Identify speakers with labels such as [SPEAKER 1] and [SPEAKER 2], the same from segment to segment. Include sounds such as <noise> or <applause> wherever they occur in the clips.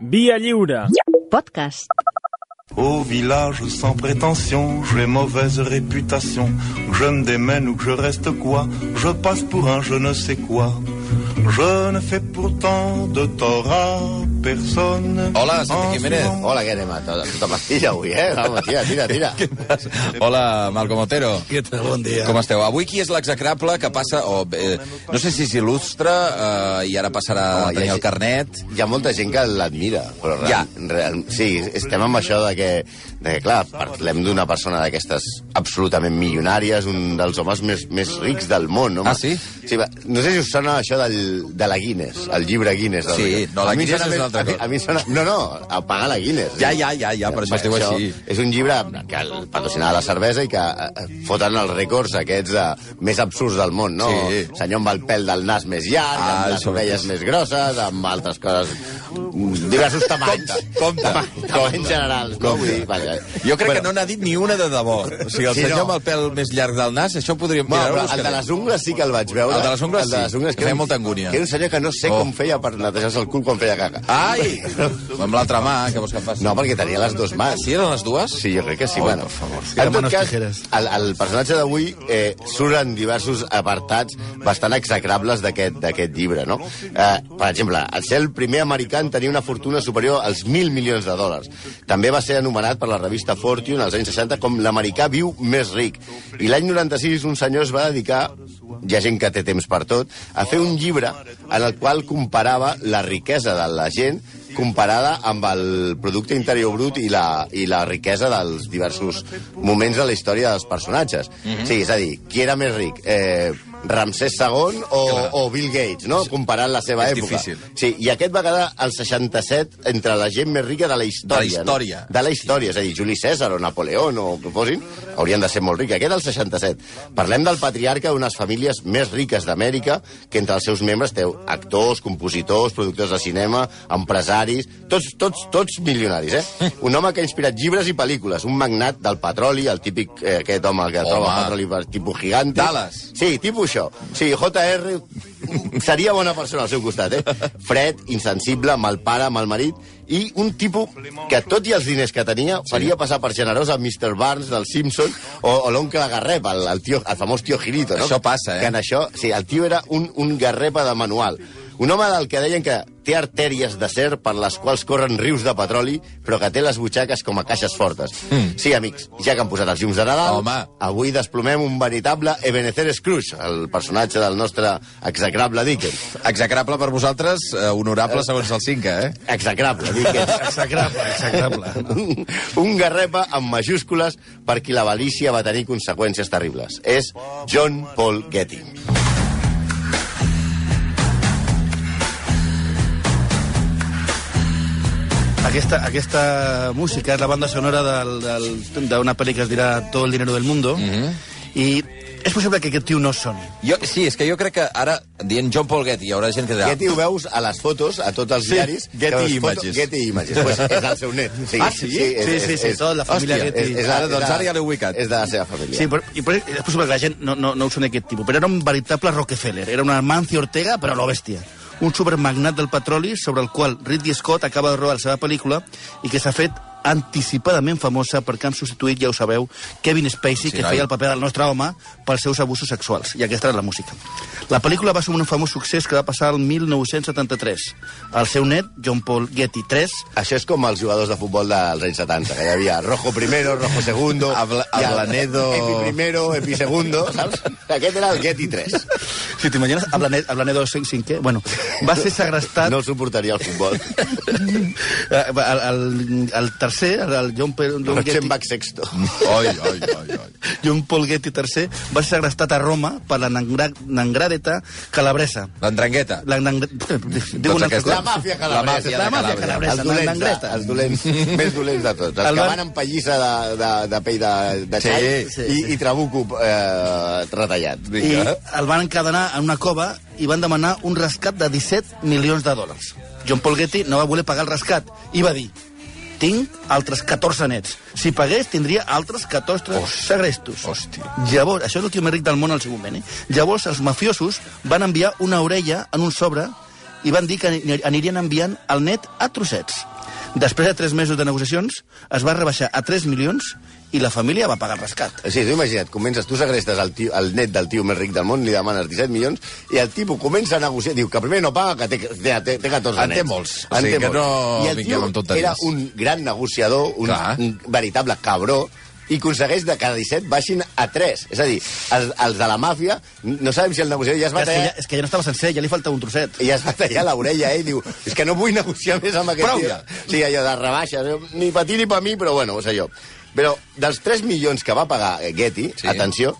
[SPEAKER 1] Via lliure.
[SPEAKER 2] Podcast.
[SPEAKER 3] Au village sans prétention, j'ai mauvaise réputation. Que Je me démène ou que je reste quoi, je passe pour un je ne sais quoi. Je ne fais pourtant de tort à personne.
[SPEAKER 4] Hola,
[SPEAKER 3] En
[SPEAKER 4] Santi Jiménez.
[SPEAKER 3] souvent-
[SPEAKER 5] Hola, que anem a tota, tota pastilla avui, eh? Vamos, tira, tira, tira.
[SPEAKER 4] <laughs> Hola, Malcom Otero.
[SPEAKER 6] Què tal? Bon dia.
[SPEAKER 4] Com esteu? Avui qui és l'execrable que passa... Oh, eh, no sé si s'il·lustra eh, i ara passarà a
[SPEAKER 5] Home,
[SPEAKER 4] tenir
[SPEAKER 5] ja
[SPEAKER 4] el
[SPEAKER 5] sé.
[SPEAKER 4] carnet.
[SPEAKER 5] Hi ha molta gent que l'admira, però real,
[SPEAKER 4] Ja.
[SPEAKER 5] real, sí, estem amb això de que, de que clar, parlem d'una persona d'aquestes absolutament milionàries, un dels homes més, més rics del món. Home.
[SPEAKER 4] Ah, sí?
[SPEAKER 5] sí? va- No sé si us sona això del, de la Guinness, el llibre Guinness. del
[SPEAKER 4] Sí,
[SPEAKER 5] rei.
[SPEAKER 4] no, la
[SPEAKER 5] A mi em
[SPEAKER 4] Guinness
[SPEAKER 5] sona
[SPEAKER 4] és una
[SPEAKER 5] més-
[SPEAKER 4] altra
[SPEAKER 5] a mi-
[SPEAKER 4] cosa.
[SPEAKER 5] A mi em sona... No, no, a pagar la Guinness. eh?
[SPEAKER 4] Ja, ja, ja, ja, per això es diu així.
[SPEAKER 5] És un llibre que el patrocinava la cervesa i que eh, foten els rècords aquests eh, més absurds del món, no?
[SPEAKER 4] Sí.
[SPEAKER 5] Senyor amb el pèl del nas més llarg,
[SPEAKER 4] Ah,
[SPEAKER 5] amb les
[SPEAKER 4] sobretot.
[SPEAKER 5] orelles més grosses, amb altres coses... Diversos tamanys.
[SPEAKER 4] Compte,
[SPEAKER 5] Tama-
[SPEAKER 4] compte.
[SPEAKER 5] Tamanys generals, no? Vull dir, vaja.
[SPEAKER 4] Jo crec que no n'ha dit ni una de debò. O sigui, el
[SPEAKER 5] Sí,
[SPEAKER 4] senyor
[SPEAKER 5] no.
[SPEAKER 4] amb el pèl més llarg del nas, això podríem...
[SPEAKER 5] Bueno,
[SPEAKER 4] Mira,
[SPEAKER 5] però
[SPEAKER 4] ara ho
[SPEAKER 5] el de
[SPEAKER 4] buscaré.
[SPEAKER 5] les ungles sí que el vaig veure.
[SPEAKER 4] El de les ungles
[SPEAKER 5] El de les
[SPEAKER 4] sí. Em
[SPEAKER 5] ungles,
[SPEAKER 4] feia
[SPEAKER 5] era un-
[SPEAKER 4] molta angúnia.
[SPEAKER 5] Que era un senyor que no sé
[SPEAKER 4] Oh.
[SPEAKER 5] com feia per netejar-se el cul quan feia caca.
[SPEAKER 4] Ai! Amb l'altra mà, que vols que em faci?
[SPEAKER 5] No, perquè tenia les dues mans.
[SPEAKER 4] Sí, eren les dues?
[SPEAKER 5] Sí, jo crec que sí.
[SPEAKER 4] Ai,
[SPEAKER 5] bueno,
[SPEAKER 4] per favor.
[SPEAKER 5] En tot
[SPEAKER 6] Tira'm unes
[SPEAKER 5] cas,
[SPEAKER 6] tijeres.
[SPEAKER 5] el, el personatge d'avui eh, surt en diversos apartats bastant execrables d'aquest d'aquest llibre, no? Eh, per exemple, el ser el primer americà en tenir una fortuna superior als mil milions de dòlars. També va ser anomenat per la revista Fortune als anys 60 com l'americà viu més ric. I l'any 96 un senyor es va dedicar hi ha gent que té temps per tot, a fer un llibre en el qual comparava la riquesa de la gent comparada amb el producte interior brut i la, i la riquesa dels diversos moments de la història dels personatges.
[SPEAKER 4] Mhm.
[SPEAKER 5] Sí, és a dir, qui era més ric? Eh, Ramsès II o, o Bill Gates, no? Comparant la seva
[SPEAKER 4] És
[SPEAKER 5] època.
[SPEAKER 4] difícil.
[SPEAKER 5] Sí, i aquest va quedar al 67 entre la gent més rica de la història.
[SPEAKER 4] història.
[SPEAKER 5] No? De la història, és a dir, Juli César o Napoleó o que fossin, haurien de ser molt rics. Aquest al 67. Parlem del patriarca d'unes famílies més riques d'Amèrica, que entre els seus membres té actors, compositors, productors de cinema, empresaris, tots, tots, tots milionaris, eh? Un home que ha inspirat llibres i pel·lícules, un magnat del petroli, el típic eh, aquest home que
[SPEAKER 4] Home.
[SPEAKER 5] troba petroli per tipus gigante.
[SPEAKER 4] Dallas.
[SPEAKER 5] Sí, tipus això. Sí, JR seria bona persona al seu costat, eh? Fred, insensible, mal pare, mal marit, i un tipus que, tot i els diners que tenia, faria passar per generós a Mr. Barnes del Simpson o, o l'oncle Garrep, el, el, tio, el famós tio Girito, no?
[SPEAKER 4] Això passa, eh?
[SPEAKER 5] Que en això, sí, el tio era un, un garrepa de manual. Un home del que deien que té artèries de ser per les quals corren rius de petroli, però que té les butxaques com a caixes fortes. Mm. Sí, amics, ja que han posat els llums de Nadal,
[SPEAKER 4] Hmm. Home.
[SPEAKER 5] avui desplomem un veritable Ebenezer Scrooge, el personatge del nostre execrable Dickens.
[SPEAKER 4] Execrable per vosaltres, eh, honorable segons el cinque, eh?
[SPEAKER 5] Execrable,
[SPEAKER 4] <laughs>
[SPEAKER 5] Dickens.
[SPEAKER 6] Execrable, execrable.
[SPEAKER 5] un, <laughs> un garrepa amb majúscules per qui la malícia va tenir conseqüències terribles. És John Paul Getty.
[SPEAKER 6] Aquesta, aquesta música és la banda sonora del- del- d'una pel·li que es dirà Todo el dinero del mundo, i és possible que aquest tio no soni.
[SPEAKER 4] Jo, sí, és que jo crec que ara, dient John Paul Getty, hi haurà gent que dirà...
[SPEAKER 5] Getty ho veus a les fotos, a tots els
[SPEAKER 4] Sí,
[SPEAKER 5] diaris. que
[SPEAKER 4] Getty
[SPEAKER 5] les fotos-
[SPEAKER 4] Images.
[SPEAKER 5] Getty Images, pues és el seu net. Sí,
[SPEAKER 4] Ah, sí?
[SPEAKER 5] és-
[SPEAKER 6] Sí,
[SPEAKER 5] és-
[SPEAKER 6] sí, sí,
[SPEAKER 5] és-
[SPEAKER 6] tota la família
[SPEAKER 5] hòstia,
[SPEAKER 6] Getty.
[SPEAKER 5] és- és la-
[SPEAKER 4] Ara, doncs,
[SPEAKER 5] és la-
[SPEAKER 4] ara ja l'he ubicat.
[SPEAKER 5] És de la seva família.
[SPEAKER 6] Sí, però, i, però és possible que la gent no, no, no ho soni aquest tipus, però era un veritable Rockefeller, era un Amancio Ortega, però a lo bèstia. Un supermagnat del petroli sobre el qual Ridley Scott acaba de rodar la seva pel·lícula i que s'ha fet anticipadament famosa perquè han substituït, ja ho sabeu, Kevin
[SPEAKER 4] Sí,
[SPEAKER 6] Spacey, que
[SPEAKER 4] noi.
[SPEAKER 6] feia el paper del nostre home pels seus abusos sexuals. I aquesta era la música. La pel·lícula va ser un famós succés que va passar el 1973. El seu net, John Paul Getty III,
[SPEAKER 5] Això és com els jugadors de futbol dels anys 70, que hi havia rojo primero, rojo segundo,
[SPEAKER 4] Abla-
[SPEAKER 5] i el-
[SPEAKER 4] Ablanedo.
[SPEAKER 5] Epi primero, epi segundo, saps? Aquest era el Getty 3.
[SPEAKER 6] Si t'imagines, Ablanedo, Ablanedo 5 Bueno, va ser segrestat...
[SPEAKER 5] No el suportaria el futbol.
[SPEAKER 6] Eh, el, el, el tercer, el- el John, Paul- John,
[SPEAKER 5] Rochenbach
[SPEAKER 6] Getty,
[SPEAKER 5] sexto.
[SPEAKER 4] Oi, oi, oi, oi.
[SPEAKER 6] John Paul Getty III va ser segrestat a Roma per la Nangra- Nangradeta Calabresa.
[SPEAKER 4] L'endrangueta.
[SPEAKER 6] La Nangre... <laughs> Diu una altra
[SPEAKER 4] aquests- eh?
[SPEAKER 5] La
[SPEAKER 6] cosa.
[SPEAKER 5] màfia calabresa.
[SPEAKER 4] La màfia de
[SPEAKER 6] La màfia
[SPEAKER 4] Calàbria.
[SPEAKER 6] calabresa. ah,
[SPEAKER 5] Els dolents,
[SPEAKER 6] l'anglès.
[SPEAKER 5] eh? els dolents, <laughs> més dolents de tots. Els
[SPEAKER 6] El
[SPEAKER 5] que
[SPEAKER 6] van-
[SPEAKER 5] van amb pallissa de, de, de pell de, de
[SPEAKER 4] Sí,
[SPEAKER 5] xai
[SPEAKER 4] sí,
[SPEAKER 5] i, i trabuco eh, retallat.
[SPEAKER 6] I
[SPEAKER 4] Vinga.
[SPEAKER 6] el van encadenar en una cova i van demanar un rescat de 17 milions de dòlars. John Paul Getty no va voler pagar el rescat i va dir tinc altres 14 nets. Si pagués, tindria altres 14 segrestos.
[SPEAKER 4] Hòstia.
[SPEAKER 6] Llavors, això és el tio més ric del món al seu moment, eh? Llavors, els mafiosos van enviar una orella en un sobre i van dir que ani- anirien enviant el net a trossets. Després de tres mesos de negociacions, es va rebaixar a 3 milions i la família va pagar el rescat.
[SPEAKER 5] Sí, tu imagina't, comences, tu segrestes el, tio, el net del tio més ric del món, li demanes 17 milions, i el tipus comença a negociar, diu que primer no paga, que té, té, té, té 14
[SPEAKER 4] En té
[SPEAKER 5] nets.
[SPEAKER 4] molts. O sigui que no
[SPEAKER 5] I el
[SPEAKER 4] vinguem amb
[SPEAKER 5] tio
[SPEAKER 4] tonteries.
[SPEAKER 5] era un gran negociador, un,
[SPEAKER 4] Clar.
[SPEAKER 5] un veritable cabró, i aconsegueix de cada 17 baixin a 3. És a dir, els, els de la màfia, no sabem si el negociador ja es va
[SPEAKER 6] És que,
[SPEAKER 5] tallar...
[SPEAKER 6] ja, és que ja no estava sencer, ja li falta un trosset.
[SPEAKER 5] I ja es va tallar l'orella, eh? I diu, és que no vull negociar més amb aquest
[SPEAKER 4] Prou
[SPEAKER 5] tio.
[SPEAKER 4] ja.
[SPEAKER 5] Sí, allò de rebaixes, eh? ni per ti ni per mi, però bueno, és allò. Però dels 3 milions que va pagar eh, Getty,
[SPEAKER 4] Sí.
[SPEAKER 5] sí. atenció,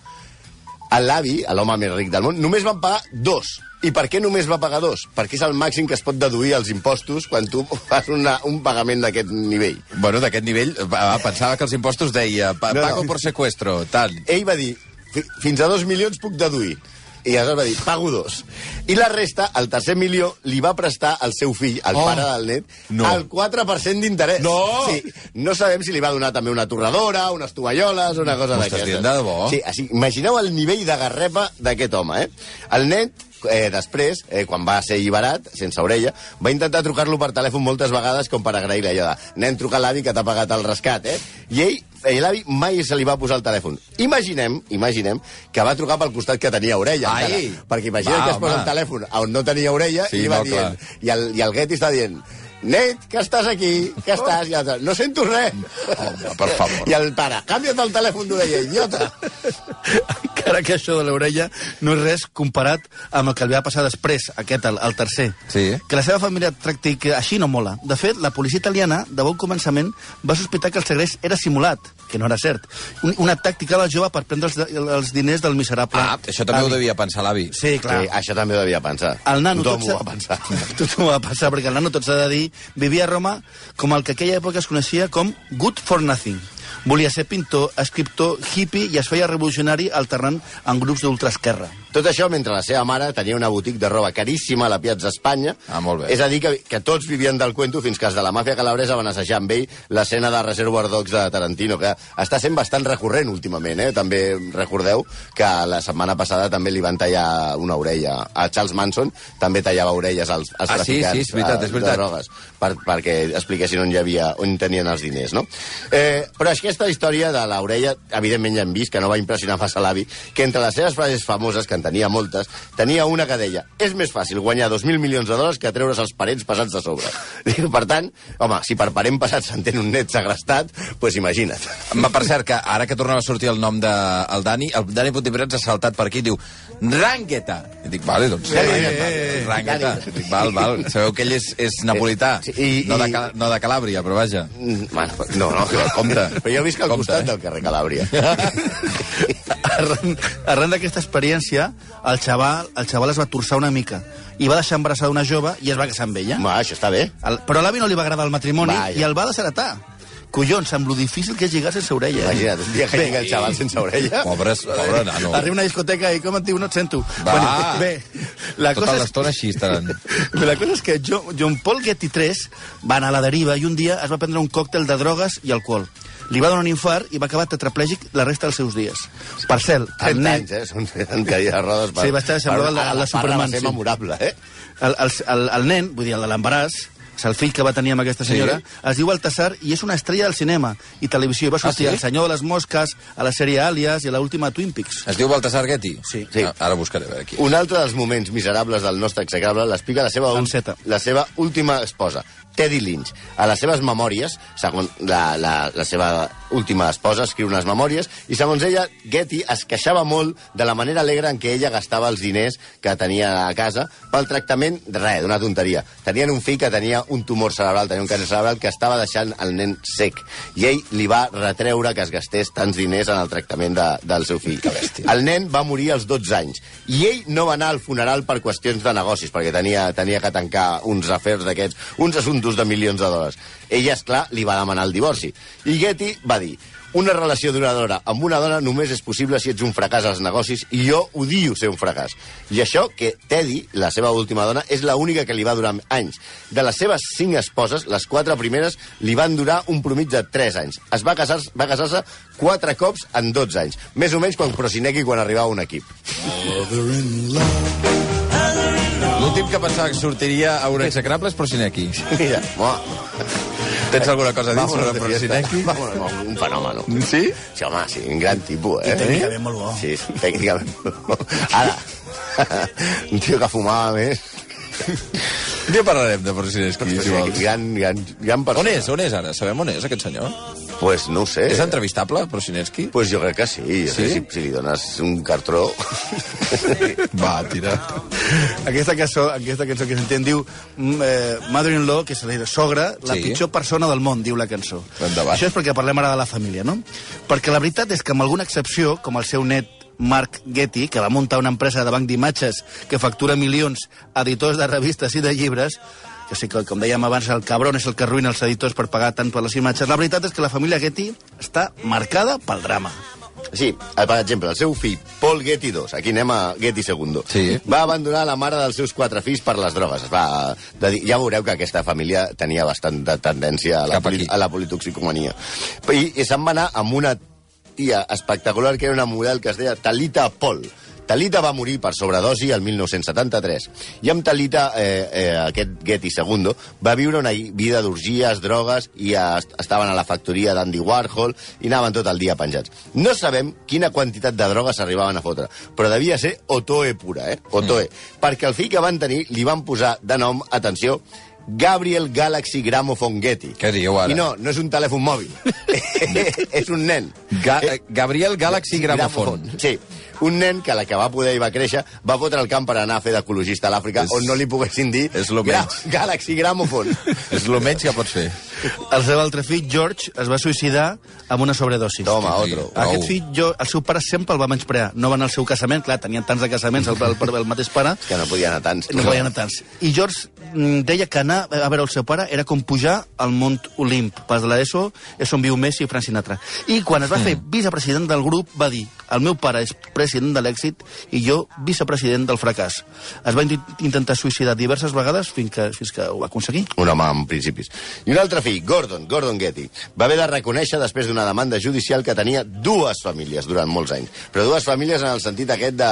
[SPEAKER 5] a l'avi, a l'home més ric del món, només van pagar dos. I per què només va pagar dos? Perquè és el màxim que es pot deduir als impostos quan tu fas una, un pagament d'aquest nivell.
[SPEAKER 4] Bueno, d'aquest nivell, va, pensava que els impostos deia pa,
[SPEAKER 5] No, no.
[SPEAKER 4] pago por secuestro, tant.
[SPEAKER 5] Ell va dir, "Fi- fins a dos milions puc deduir. I aleshores va dir, pago dos. I la resta, el tercer milió, li va prestar al seu fill, al
[SPEAKER 4] Oh.
[SPEAKER 5] oh. pare del net,
[SPEAKER 4] No.
[SPEAKER 5] no. el 4% d'interès.
[SPEAKER 4] No.
[SPEAKER 5] Sí, no sabem si li va donar també una torradora, unes tovalloles, una cosa
[SPEAKER 4] M'ho estàs
[SPEAKER 5] d'aquestes.
[SPEAKER 4] dient de debò?
[SPEAKER 5] Sí, així, imagineu el nivell de garrepa d'aquest home, eh? El net, eh, després, eh, quan va ser alliberat, sense orella, va intentar trucar-lo per telèfon moltes vegades com per agrair-li allò de nen, truca a l'avi que t'ha pagat el rescat, eh? I ell, eh, l'avi mai se li va posar el telèfon. Imaginem, imaginem, que va trucar pel costat que tenia orella.
[SPEAKER 4] Ai!
[SPEAKER 5] encara. perquè imagina't
[SPEAKER 4] Va,
[SPEAKER 5] que es posa
[SPEAKER 4] home.
[SPEAKER 5] el telèfon on no tenia orella
[SPEAKER 4] Sí,
[SPEAKER 5] i li va
[SPEAKER 4] no, clar.
[SPEAKER 5] dient... I el, I el Getty està dient... Net, que estàs aquí, que estàs... I l'altre, no sento res.
[SPEAKER 4] Home, per favor.
[SPEAKER 5] <laughs> I el pare, canvia't el telèfon d'orella, idiota.
[SPEAKER 6] Encara que això de l'orella no és res comparat amb el que li va passar després, aquest, el, el tercer.
[SPEAKER 4] Sí.
[SPEAKER 6] Que la seva família et tracti que així no mola. De fet, la policia italiana, de bon començament, va sospitar que el segrest era simulat, que no era cert. Un, una tàctica del jove per prendre els, els diners del miserable.
[SPEAKER 4] Ah, això també ho
[SPEAKER 6] avi.
[SPEAKER 4] devia pensar l'avi.
[SPEAKER 6] Sí, clar.
[SPEAKER 5] Sí, això també ho devia pensar.
[SPEAKER 6] El nano,
[SPEAKER 5] Tothom
[SPEAKER 6] s'ha-
[SPEAKER 5] ho va pensar.
[SPEAKER 6] <laughs> Tothom ho va pensar, perquè el nano, tot s'ha de dir, vivia a Roma com el que aquella època es coneixia com good for nothing. Volia ser pintor, escriptor, hippie i es feia revolucionari alternant en grups d'ultraesquerra.
[SPEAKER 5] Tot això mentre la seva mare tenia una botic de roba caríssima a la Piazza Espanya.
[SPEAKER 4] Ah, molt bé.
[SPEAKER 5] És a dir, que, que tots vivien del cuento fins que els de la màfia calabresa van assajar amb ell l'escena de Reservoir Dogs de Tarantino, que està sent bastant recurrent últimament, eh? També recordeu que la setmana passada també li van tallar una orella. A Charles Manson també tallava orelles als, als
[SPEAKER 4] Ah, sí,
[SPEAKER 5] traficants
[SPEAKER 4] sí, és veritat,
[SPEAKER 5] eh,
[SPEAKER 4] és veritat.
[SPEAKER 5] de drogues, per, perquè expliquessin on hi havia, on tenien els diners, no? Eh, però és que aquesta història de l'orella, evidentment ja hem vist que no va impressionar massa l'avi, que entre les seves frases famoses, que en tenia moltes, tenia una que deia és més fàcil guanyar 2.000 milions de dòlars que treure's els parents passats de sobre. <laughs> Dic, per tant, home, si per parent passat s'entén un net segrestat, doncs pues imagina't.
[SPEAKER 4] Ma, per cert, que ara que tornava a sortir el nom del de, el Dani, el Dani Pontiprats ha saltat per aquí i diu Rangueta. I dic, vale, doncs,
[SPEAKER 5] Eh,
[SPEAKER 4] Rangueta.
[SPEAKER 5] eh, eh,
[SPEAKER 4] Rangueta.
[SPEAKER 5] Dani. Eh,
[SPEAKER 4] Dic, val, val. Sabeu que ell és, és napolità,
[SPEAKER 5] Sí, i-
[SPEAKER 4] no, de,
[SPEAKER 5] i-
[SPEAKER 4] Cal- no de Calàbria, però
[SPEAKER 5] <laughs>
[SPEAKER 4] vaja.
[SPEAKER 5] Mm, Bueno, no, no,
[SPEAKER 4] Compte.
[SPEAKER 5] Però jo visc al
[SPEAKER 4] Compte,
[SPEAKER 5] costat
[SPEAKER 4] eh?
[SPEAKER 5] del carrer Calàbria.
[SPEAKER 4] <laughs>
[SPEAKER 6] Arran, arran d'aquesta experiència, el xaval, el xaval es va torçar una mica i va deixar embarassar una jove i es va casar amb ella.
[SPEAKER 5] Home, això està bé.
[SPEAKER 6] El, però a l'avi no li va agradar el matrimoni
[SPEAKER 5] Vaja.
[SPEAKER 6] i el va desheretar. Collons, amb lo difícil que és lligar sense orella. eh? Ah,
[SPEAKER 5] Imagina't, un dia que
[SPEAKER 6] Bé,
[SPEAKER 5] lliga el xaval sense orella.
[SPEAKER 4] Pobres, pobre nano.
[SPEAKER 6] Arriba a una discoteca i com et diu, no et sento.
[SPEAKER 4] Va.
[SPEAKER 6] bé, la
[SPEAKER 4] Tota
[SPEAKER 6] cosa,
[SPEAKER 4] l'estona
[SPEAKER 6] és,
[SPEAKER 4] així estaran.
[SPEAKER 6] però la cosa és que jo, John Paul Getty III va anar a la deriva i un dia es va prendre un còctel de drogues i alcohol. Li va donar un infart i va acabar tetraplègic la resta dels seus dies. Per cert, el
[SPEAKER 5] 30
[SPEAKER 6] nen,
[SPEAKER 5] anys, eh? Són en cadira de rodes.
[SPEAKER 6] Sí, va estar semblant a la- a la Superman,
[SPEAKER 5] Va ser
[SPEAKER 6] sí.
[SPEAKER 5] memorable, eh?
[SPEAKER 6] el, el, el, el nen, vull dir, el de l'embaràs, és el fill que va tenir amb aquesta senyora,
[SPEAKER 4] Sí.
[SPEAKER 6] sí. es diu Altasar i és una estrella del cinema i televisió. I va sortir
[SPEAKER 4] Ah, sí?
[SPEAKER 6] al Senyor de les Mosques, a la sèrie Alias i a l'última Twin Peaks.
[SPEAKER 4] Es diu Baltasar Guetti?
[SPEAKER 6] Sí.
[SPEAKER 5] Sí.
[SPEAKER 4] Ah, Ara buscaré, a veure qui.
[SPEAKER 5] Un altre dels moments miserables del nostre execrable l'explica la, seva ul-
[SPEAKER 6] Enceta.
[SPEAKER 5] la seva última esposa, Teddy Lynch. A les seves memòries, segons la, la, la seva última esposa, escriu unes memòries, i segons ella, Getty es queixava molt de la manera alegre en què ella gastava els diners que tenia a casa pel tractament, res, d'una tonteria. Tenien un fill que tenia un tumor cerebral, tenia un càncer cerebral que estava deixant el nen sec, i ell li va retreure que es gastés tants diners en el tractament de, del seu fill. Que bèstia. El nen va morir als 12 anys i ell no va anar al funeral per qüestions de negocis, perquè tenia, tenia que tancar uns afers d'aquests, uns assumptos de milions de dòlars. Ella, és clar, li va demanar el divorci. I Getty va dir una relació duradora amb una dona només és possible si ets un fracàs als negocis i jo odio ser un fracàs. I això que Teddy, la seva última dona, és l'única que li va durar anys. De les seves cinc esposes, les quatre primeres li van durar un promig de 3 anys. Es va casar- va casar-se casar quatre cops en 12 anys, més o menys quan Prosinecki quan arribava a un equip.
[SPEAKER 4] L'últim que pensava que sortiria a un execrables, però
[SPEAKER 5] <laughs>
[SPEAKER 4] Sineki.
[SPEAKER 5] Mira, mo,
[SPEAKER 4] Tens alguna cosa a dir sobre
[SPEAKER 5] vámonos de
[SPEAKER 4] Prosinecki?
[SPEAKER 5] fiesta. Vámonos, un fenòmeno.
[SPEAKER 4] Sí?
[SPEAKER 5] Sí, home, sí, un gran tipus, eh?
[SPEAKER 6] I tècnicament molt bo.
[SPEAKER 5] Sí, sí, tècnicament. <laughs> Ara, un tio que ¿eh? fumava més.
[SPEAKER 4] Un dia parlarem de Prosinecki, si vols.
[SPEAKER 5] gran, gran, gran persona.
[SPEAKER 4] On és? On és ara? Sabem on és aquest senyor?
[SPEAKER 5] Pues no ho sé.
[SPEAKER 4] És entrevistable, Prosinecki?
[SPEAKER 5] Pues jo crec que sí. Jo
[SPEAKER 4] Sí?
[SPEAKER 5] sí? Si, si li dones un cartró...
[SPEAKER 4] <laughs> Va, tira.
[SPEAKER 6] Aquesta cançó, aquesta cançó que sentim diu mm, eh, Mother-in-law, que se li diu sogra, la
[SPEAKER 4] Sí.
[SPEAKER 6] pitjor persona del món, diu la cançó.
[SPEAKER 4] Endavant.
[SPEAKER 6] Això és perquè parlem ara de la família, no? Perquè la veritat és que amb alguna excepció, com el seu net Mark Getty, que va muntar una empresa de banc d'imatges que factura milions a editors de revistes i de llibres, que sí que, com dèiem abans, el cabron és el que arruïna els editors per pagar tant per les imatges. La veritat és que la família Getty està marcada pel drama.
[SPEAKER 5] Sí, eh, per exemple, el seu fill, Paul Getty II, aquí anem a Getty II,
[SPEAKER 4] Sí.
[SPEAKER 5] va abandonar la mare dels seus quatre fills per les drogues. Es va, eh, de, ja veureu que aquesta família tenia bastant de tendència a la,
[SPEAKER 4] Cap aquí.
[SPEAKER 5] poli, a la politoxicomania. I, i se'n va anar amb una tia espectacular, que era una model que es deia Talita Paul. Talita va morir per sobredosi el 1973. I amb Talita, eh, eh, aquest Getty II, va viure una vida d'orgies, drogues, i eh, est- estaven a la factoria d'Andy Warhol i anaven tot el dia penjats. No sabem quina quantitat de drogues arribaven a fotre, però devia ser Otoe pura, eh? Otoe.
[SPEAKER 4] Mm.
[SPEAKER 5] Perquè el fill que van tenir li van posar de nom, atenció, Gabriel Galaxy Gramophone Getty.
[SPEAKER 4] Què diu ara?
[SPEAKER 5] I no, no és un telèfon
[SPEAKER 4] <laughs>
[SPEAKER 5] mòbil. és un nen.
[SPEAKER 4] Ga eh, Gabriel Galaxy Gramophone.
[SPEAKER 5] Sí, un nen que a la que va poder i va créixer va fotre el camp per anar a fer d'ecologista a l'Àfrica
[SPEAKER 4] És-
[SPEAKER 5] on no li poguessin dir
[SPEAKER 4] és lo
[SPEAKER 5] Gra-
[SPEAKER 4] menys.
[SPEAKER 5] Galaxy Gramophone.
[SPEAKER 4] <laughs> És el menys que pots fer.
[SPEAKER 6] El seu altre fill, George, es va suïcidar amb una sobredosi.
[SPEAKER 5] Toma,
[SPEAKER 4] Hosti,
[SPEAKER 5] otro.
[SPEAKER 4] Prou.
[SPEAKER 6] Aquest fill, jo, el seu pare sempre el va menysprear. No va anar al seu casament, clar, tenien tants de casaments, el, el, el, el mateix pare,
[SPEAKER 5] Que no podia anar tants.
[SPEAKER 6] no podia anar tants. I George mm, deia que anar a veure el seu pare era com pujar al Mont Olimp. Pas de l'ESO és on viu Messi i Frank Sinatra. I quan es va
[SPEAKER 5] Hmm.
[SPEAKER 6] fer vicepresident del grup va dir el meu pare és president de l'èxit i jo vicepresident del fracàs. Es va inti- intentar suïcidar diverses vegades fins que, fins que ho va aconseguir.
[SPEAKER 5] un home amb principis. I un altre fill, Gordon, Gordon Getty, va haver de reconèixer després d'una demanda judicial que tenia dues famílies durant molts anys. Però dues famílies en el sentit aquest de...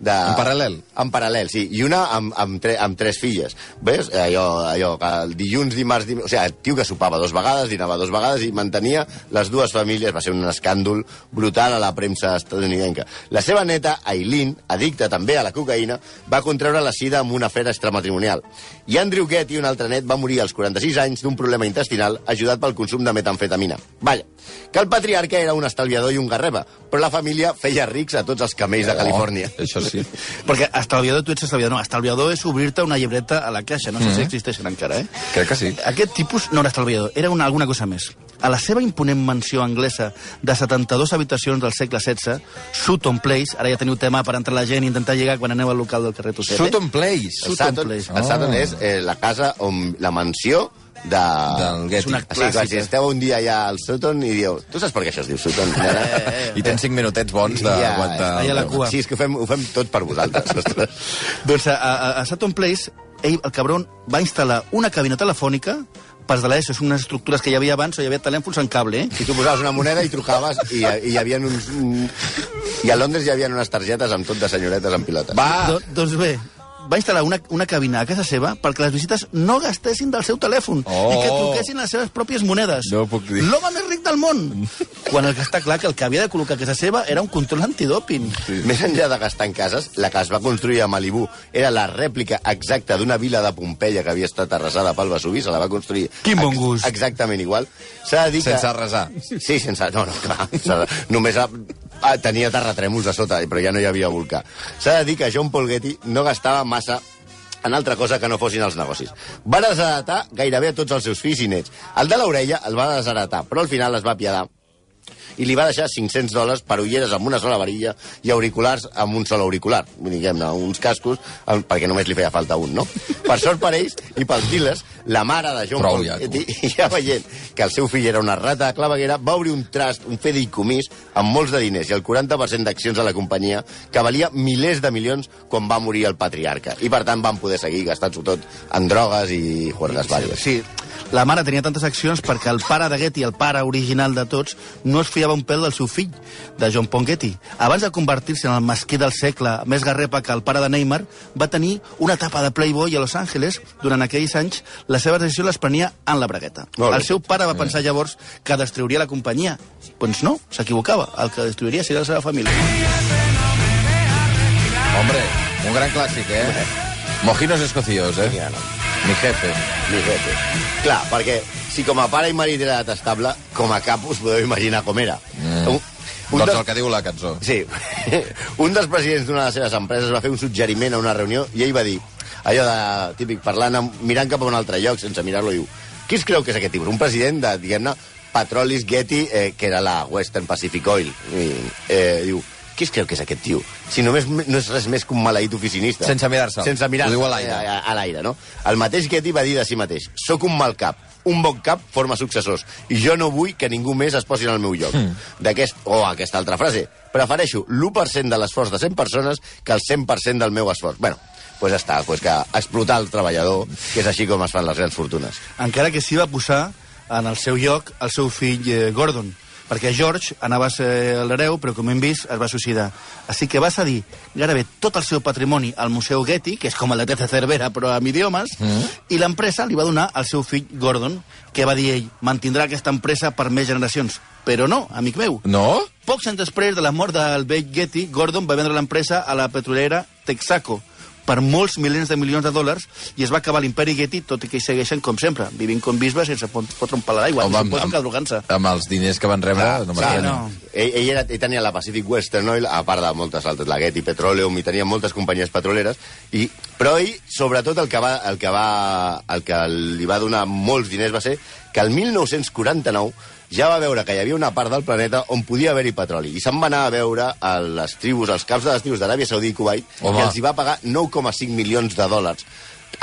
[SPEAKER 5] de
[SPEAKER 4] En paral·lel.
[SPEAKER 5] En paral·lel, sí. I una amb, amb, tre, amb tres filles. Ves? Allò, allò que el dilluns, dimarts... Dim... O sigui, el tio que sopava dos vegades, dinava dos vegades i mantenia les dues famílies. Va ser un escàndol brutal a la premsa estadounidenca. La seva neta, Aileen, addicta també a la cocaïna, va contraure la sida amb una afera extramatrimonial. I Andrew Getty, un altre net, va morir als 46 anys d'un problema intestinal ajudat pel consum de metamfetamina. Vaja, que el patriarca era un estalviador i un garreba, però la família feia rics a tots els camells de Califòrnia.
[SPEAKER 4] Oh, això sí.
[SPEAKER 6] Perquè estalviador, tu ets estalviador. No, estalviador és obrir-te una llibreta a la caixa. No sé si existeixen encara, eh?
[SPEAKER 4] Crec que sí.
[SPEAKER 6] Aquest tipus no era estalviador, era una, alguna cosa més. A la seva imponent mansió anglesa de 72 habitacions del segle XVI, Sutton Place, ara ja teniu tema per entrar la gent i intentar llegar quan aneu al local del carrer eh? Tossete.
[SPEAKER 4] Sutton Place.
[SPEAKER 5] El
[SPEAKER 6] Sutton
[SPEAKER 5] Sutton,
[SPEAKER 6] Place.
[SPEAKER 5] el Sutton
[SPEAKER 4] Ah.
[SPEAKER 5] és eh, la casa on la mansió de... Ah,
[SPEAKER 4] Del Getty. Ah,
[SPEAKER 6] És una
[SPEAKER 5] Sí, clar, si
[SPEAKER 6] clàssica.
[SPEAKER 5] esteu un dia allà al Sutton i dieu... Tu saps per què això es diu Sutton?
[SPEAKER 6] Eh,
[SPEAKER 5] nena?"
[SPEAKER 4] I tens 5 minutets bons d'aguantar...
[SPEAKER 6] allà a la cua.
[SPEAKER 5] Sí, és que ho fem, ho fem tot per vosaltres. ostres.
[SPEAKER 6] Doncs a, a, a Sutton Place, ell, el cabron, va instal·lar una cabina telefònica pas de l'ESO, són unes estructures que hi havia abans, on hi havia telèfons en cable, eh?
[SPEAKER 5] I tu posaves una moneda i trucaves i, i hi havia uns... un- I a Londres hi havia unes targetes amb tot de senyoretes en pilotes.
[SPEAKER 4] Va!
[SPEAKER 6] Do, doncs bé, va instal·lar una, una cabina a casa seva perquè les visites no gastessin del seu telèfon
[SPEAKER 4] Oh.
[SPEAKER 6] i que truquessin les seves pròpies monedes.
[SPEAKER 4] No ho puc dir. Mm.
[SPEAKER 6] L'home més ric del món! Quan el que està clar que el que havia de col·locar a casa seva era un control antidòping.
[SPEAKER 5] Sí. Més enllà de gastar en cases, la que es va construir a Malibú era la rèplica exacta d'una vila de Pompeia que havia estat arrasada pel Vesuvi, se la va construir
[SPEAKER 6] Quin bon gust.
[SPEAKER 5] exactament igual. S'ha de dir
[SPEAKER 4] Sense
[SPEAKER 5] que...
[SPEAKER 4] arrasar.
[SPEAKER 5] Sí, sense... No, no, clar. <laughs> s'ha de- Només a... ah, tenia terratrèmols a sota, però ja no hi havia volcà. S'ha de dir que John Paul Getty no gastava massa en altra cosa que no fossin els negocis. Va desheretar gairebé a tots els seus fills i nets. El de l'orella el va desheretar, però al final es va piadar i li va deixar 500 dòlars per ulleres amb una sola varilla i auriculars amb un sol auricular. Diguem-ne, uns cascos, eh, perquè només li feia falta un, no? Per sort per ells i pels dealers, la mare de John
[SPEAKER 4] Prou,
[SPEAKER 5] Paul
[SPEAKER 4] ja, tu.
[SPEAKER 5] <laughs> Getty, ja veient que el seu fill era una rata de claveguera, va obrir un trast, un fideicomis, amb molts de diners i el 40% d'accions de la companyia, que valia milers de milions quan va morir el patriarca. I, per tant, van poder seguir gastant-s'ho tot en drogues i juergues vàries.
[SPEAKER 6] Sí, La mare tenia tantes accions perquè el pare de Getty, el pare original de tots, no es fiava un pèl del seu fill, de John Pong Getty. Abans de convertir-se en el masquer del segle, més garrepa que el pare de Neymar, va tenir una etapa de Playboy a Los Angeles. Durant aquells anys, les seves decisions les prenia en la bragueta.
[SPEAKER 5] Molt bé.
[SPEAKER 6] El seu pare va pensar llavors que destruiria la companyia. Doncs no, s'equivocava. El que destruiria seria la seva família.
[SPEAKER 4] Hombre, un gran clàssic, eh? Mojinos escocíos, eh?
[SPEAKER 5] Ja no.
[SPEAKER 4] Mi jefe.
[SPEAKER 5] Ni fet, eh? Clar, perquè si com a pare i marit era detestable, com a cap us podeu imaginar com era. Mm. Un,
[SPEAKER 4] Doncs
[SPEAKER 5] dels-
[SPEAKER 4] el que diu la cançó.
[SPEAKER 5] Sí. <laughs> un dels presidents d'una de les seves empreses va fer un suggeriment a una reunió i ell va dir, allò de típic parlant, amb- mirant cap a un altre lloc sense mirar-lo, diu, qui es creu que és aquest tipus? Un president de, diguem-ne, Petrolis Getty, eh, que era la Western Pacific Oil. I, eh, diu, qui es creu que és aquest tio? Si només no és res més que un maleït oficinista.
[SPEAKER 4] Sense mirar-se'l.
[SPEAKER 5] Sense mirar
[SPEAKER 4] Ho diu a l'aire.
[SPEAKER 5] a, a l'aire, no? El mateix Getty va dir de si mateix, sóc un mal cap, un bon cap forma successors, i jo no vull que ningú més es posi en el meu lloc.
[SPEAKER 4] Hmm.
[SPEAKER 5] Mm. D'aquest, o oh, aquesta altra frase, prefereixo l'1% de l'esforç de 100 persones que el 100% del meu esforç. Bueno, pues ja està, pues que explotar el treballador, que és així com es fan les grans fortunes.
[SPEAKER 6] encara que s'hi va posar en el seu lloc el seu fill eh, Gordon, perquè George anava a ser l'hereu, però com hem vist es va suïcidar. Així que va cedir gairebé tot el seu patrimoni al Museu Getty, que és com el de Terza Cervera, però amb idiomes, mm. i l'empresa li va donar al seu fill Gordon, que va dir ell, mantindrà aquesta empresa per més generacions. Però no, amic meu.
[SPEAKER 4] No?
[SPEAKER 6] Pocs anys després de la mort del vell Getty, Gordon va vendre l'empresa a la petrolera Texaco per molts milers de milions de dòlars i es va acabar l'imperi Getty, tot i que hi segueixen com sempre, vivint com bisbes sense pot- fotre un pal a l'aigua,
[SPEAKER 4] Home,
[SPEAKER 6] no suposo que drogant-se.
[SPEAKER 4] amb els diners que van rebre,
[SPEAKER 5] Clar,
[SPEAKER 4] no
[SPEAKER 5] clar,
[SPEAKER 4] m'estranya.
[SPEAKER 6] no.
[SPEAKER 5] Ell, ell, era, ell tenia la Pacific Western Oil, a part de moltes altres, la Getty Petroleum, i tenia moltes companyies petroleres, i, però ell, sobretot, el que, va, el, que va, el que li va donar molts diners va ser que el 1949 ja va veure que hi havia una part del planeta on podia haver-hi petroli, i se'n va anar a veure a les tribus, als caps de les tribus d'Aràbia Saudí i Kuwait,
[SPEAKER 4] Home.
[SPEAKER 5] que els hi va pagar 9,5 milions de dòlars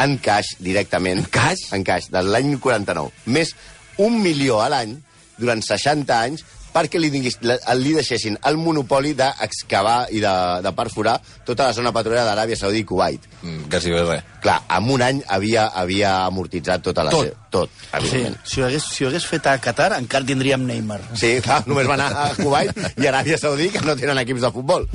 [SPEAKER 5] en cash, directament. En
[SPEAKER 4] cash?
[SPEAKER 5] En cash, de l'any 49. Més un milió a l'any, durant 60 anys, perquè li, diguis, la- li deixessin el monopoli d'excavar i de, de perforar tota la zona petrolera d'Aràbia Saudí i Kuwait.
[SPEAKER 4] Mm, Que si ve res.
[SPEAKER 5] Clar, en un any havia, havia amortitzat tota la...
[SPEAKER 4] Tot.
[SPEAKER 5] se- Tot,
[SPEAKER 6] Sí,
[SPEAKER 5] evidentment.
[SPEAKER 6] si ho, hagués, si ho hagués fet a Qatar, encara tindríem Neymar.
[SPEAKER 5] Sí, clar, només va anar a Kuwait i Aràbia Saudí, que no tenen equips de futbol.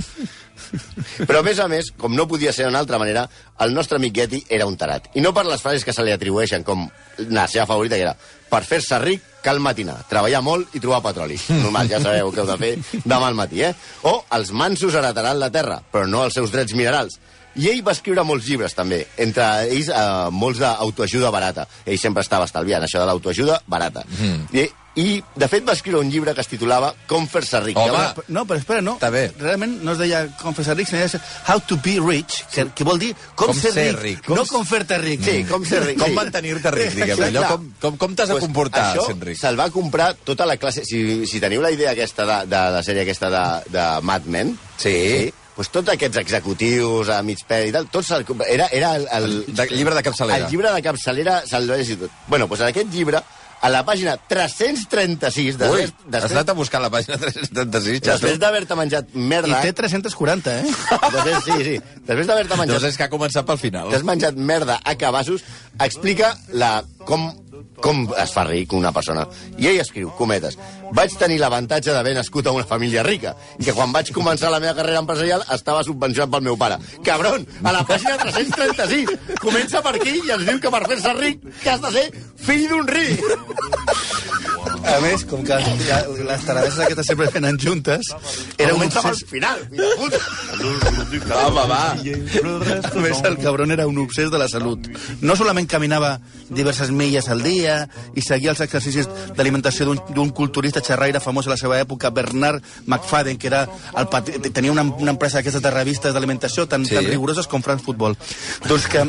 [SPEAKER 5] Però, a més a més, com no podia ser d'una altra manera, el nostre amic Getty era un tarat. I no per les frases que se li atribueixen, com la seva favorita, que era per fer-se ric cal matinar, treballar molt i trobar
[SPEAKER 4] <laughs>
[SPEAKER 5] petroli. Normal, ja sabeu què heu de fer demà al matí, eh? O els mansos heretaran la terra, però no els seus drets minerals. I ell va escriure molts llibres, també. Entre ells, eh, molts d'autoajuda barata. Ell sempre estava estalviant, això de l'autoajuda barata.
[SPEAKER 4] Hmm.
[SPEAKER 5] Mm. I, I, de fet, va escriure un llibre que es titulava Com fer-se ric.
[SPEAKER 4] Home,
[SPEAKER 5] Que va-
[SPEAKER 4] Ah,
[SPEAKER 6] No, però espera, no.
[SPEAKER 4] està bé.
[SPEAKER 6] Realment no es deia com fer-se ric, sinó deia how to be rich, que, que vol dir com,
[SPEAKER 4] Com
[SPEAKER 6] ser,
[SPEAKER 4] ser
[SPEAKER 6] ric,
[SPEAKER 4] ric.
[SPEAKER 6] no com fer-te ric.
[SPEAKER 5] Sí, com ser ric.
[SPEAKER 4] Com
[SPEAKER 5] sí.
[SPEAKER 4] mantenir-te ric, diguem
[SPEAKER 5] Exacte.
[SPEAKER 4] allò, com, com, com t'has de comportar
[SPEAKER 5] això
[SPEAKER 4] sent ric.
[SPEAKER 5] Se'l va comprar tota la classe... Si, si teniu la idea aquesta de, de la sèrie aquesta de, de Mad Men...
[SPEAKER 4] Sí.
[SPEAKER 5] Pues tots aquests executius a mig pèl i tal, tots se'l compra... Era, era el, el,
[SPEAKER 4] De, llibre de capçalera.
[SPEAKER 5] el llibre de capçalera se'l va llegir tot. Bueno, pues en aquest llibre, a la pàgina
[SPEAKER 4] Ui,
[SPEAKER 5] 336... Després,
[SPEAKER 4] has
[SPEAKER 5] després,
[SPEAKER 4] anat a eh? buscar la pàgina 376, ja
[SPEAKER 5] després d'haver-te menjat
[SPEAKER 6] I
[SPEAKER 5] merda...
[SPEAKER 6] té 340, eh?
[SPEAKER 5] <laughs> Després, sí, sí. Després d'haver-te menjat...
[SPEAKER 4] Doncs és que ha començat pel final.
[SPEAKER 5] T'has menjat merda a cabassos, explica la, com, com es fa ric una persona. I ell escriu, cometes, vaig tenir l'avantatge d'haver nascut a una família rica i que quan vaig començar la meva carrera empresarial estava subvencionat pel meu pare. Cabron, a la pàgina 336 comença per aquí i ens diu que per fer-se ric que has de ser fill d'un ric.
[SPEAKER 6] A més, com que ja, les taradeses aquestes sempre venen juntes, era un
[SPEAKER 5] Comença
[SPEAKER 6] obsés...
[SPEAKER 5] pel final, fill de puta.
[SPEAKER 3] Oh
[SPEAKER 4] Va, va, va.
[SPEAKER 3] <laughs>
[SPEAKER 6] A més, el cabron era un obsés de la salut. No solament caminava diverses milles al dia i seguia els exercicis d'alimentació d'un- d'un culturista xerraire famós a la seva època, Bernard McFadden, que era el patri... tenia una, una empresa d'aquestes de revistes d'alimentació tan,
[SPEAKER 4] Sí.
[SPEAKER 6] sí. tan rigoroses com France Football. Doncs que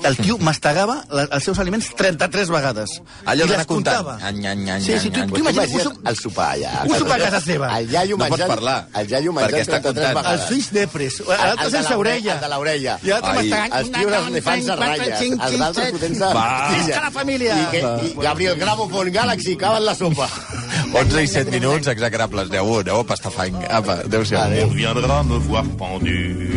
[SPEAKER 6] el tio mastegava la, els seus aliments 33 vegades.
[SPEAKER 4] Allò
[SPEAKER 6] I
[SPEAKER 4] d'anar
[SPEAKER 6] les
[SPEAKER 4] comptant.
[SPEAKER 6] comptava.
[SPEAKER 4] Any, any, any,
[SPEAKER 6] sí, sí,
[SPEAKER 4] any,
[SPEAKER 6] tu,
[SPEAKER 4] any.
[SPEAKER 6] tu imagina't, un
[SPEAKER 5] Imagina't
[SPEAKER 6] sop-
[SPEAKER 5] el sopar allà.
[SPEAKER 6] Un sopar a casa seva.
[SPEAKER 5] El iaio
[SPEAKER 4] No pots
[SPEAKER 5] menjant...
[SPEAKER 4] parlar,
[SPEAKER 5] el iaio
[SPEAKER 4] perquè
[SPEAKER 5] menjant
[SPEAKER 4] estàs
[SPEAKER 5] 33
[SPEAKER 4] comptant.
[SPEAKER 5] vegades.
[SPEAKER 6] Els fills nepres, l'altre
[SPEAKER 5] de
[SPEAKER 6] sense
[SPEAKER 5] l'ore-
[SPEAKER 6] orella.
[SPEAKER 5] El de l'orella.
[SPEAKER 6] I l'altre
[SPEAKER 4] Ai,
[SPEAKER 6] mastegant.
[SPEAKER 5] Els tios els elefants a ratlles. Els d'altres fotent-se...
[SPEAKER 4] Va.
[SPEAKER 6] Visca la família.
[SPEAKER 5] I, que, I Gabriel Gramofon Galaxy, caben la
[SPEAKER 6] <laughs>
[SPEAKER 5] sopa.
[SPEAKER 4] 11 i 7 minuts, execrables. Aneu, aneu a pastafang. Apa, adéu-siau.
[SPEAKER 5] Adéu.
[SPEAKER 3] On viendra me voir pendu,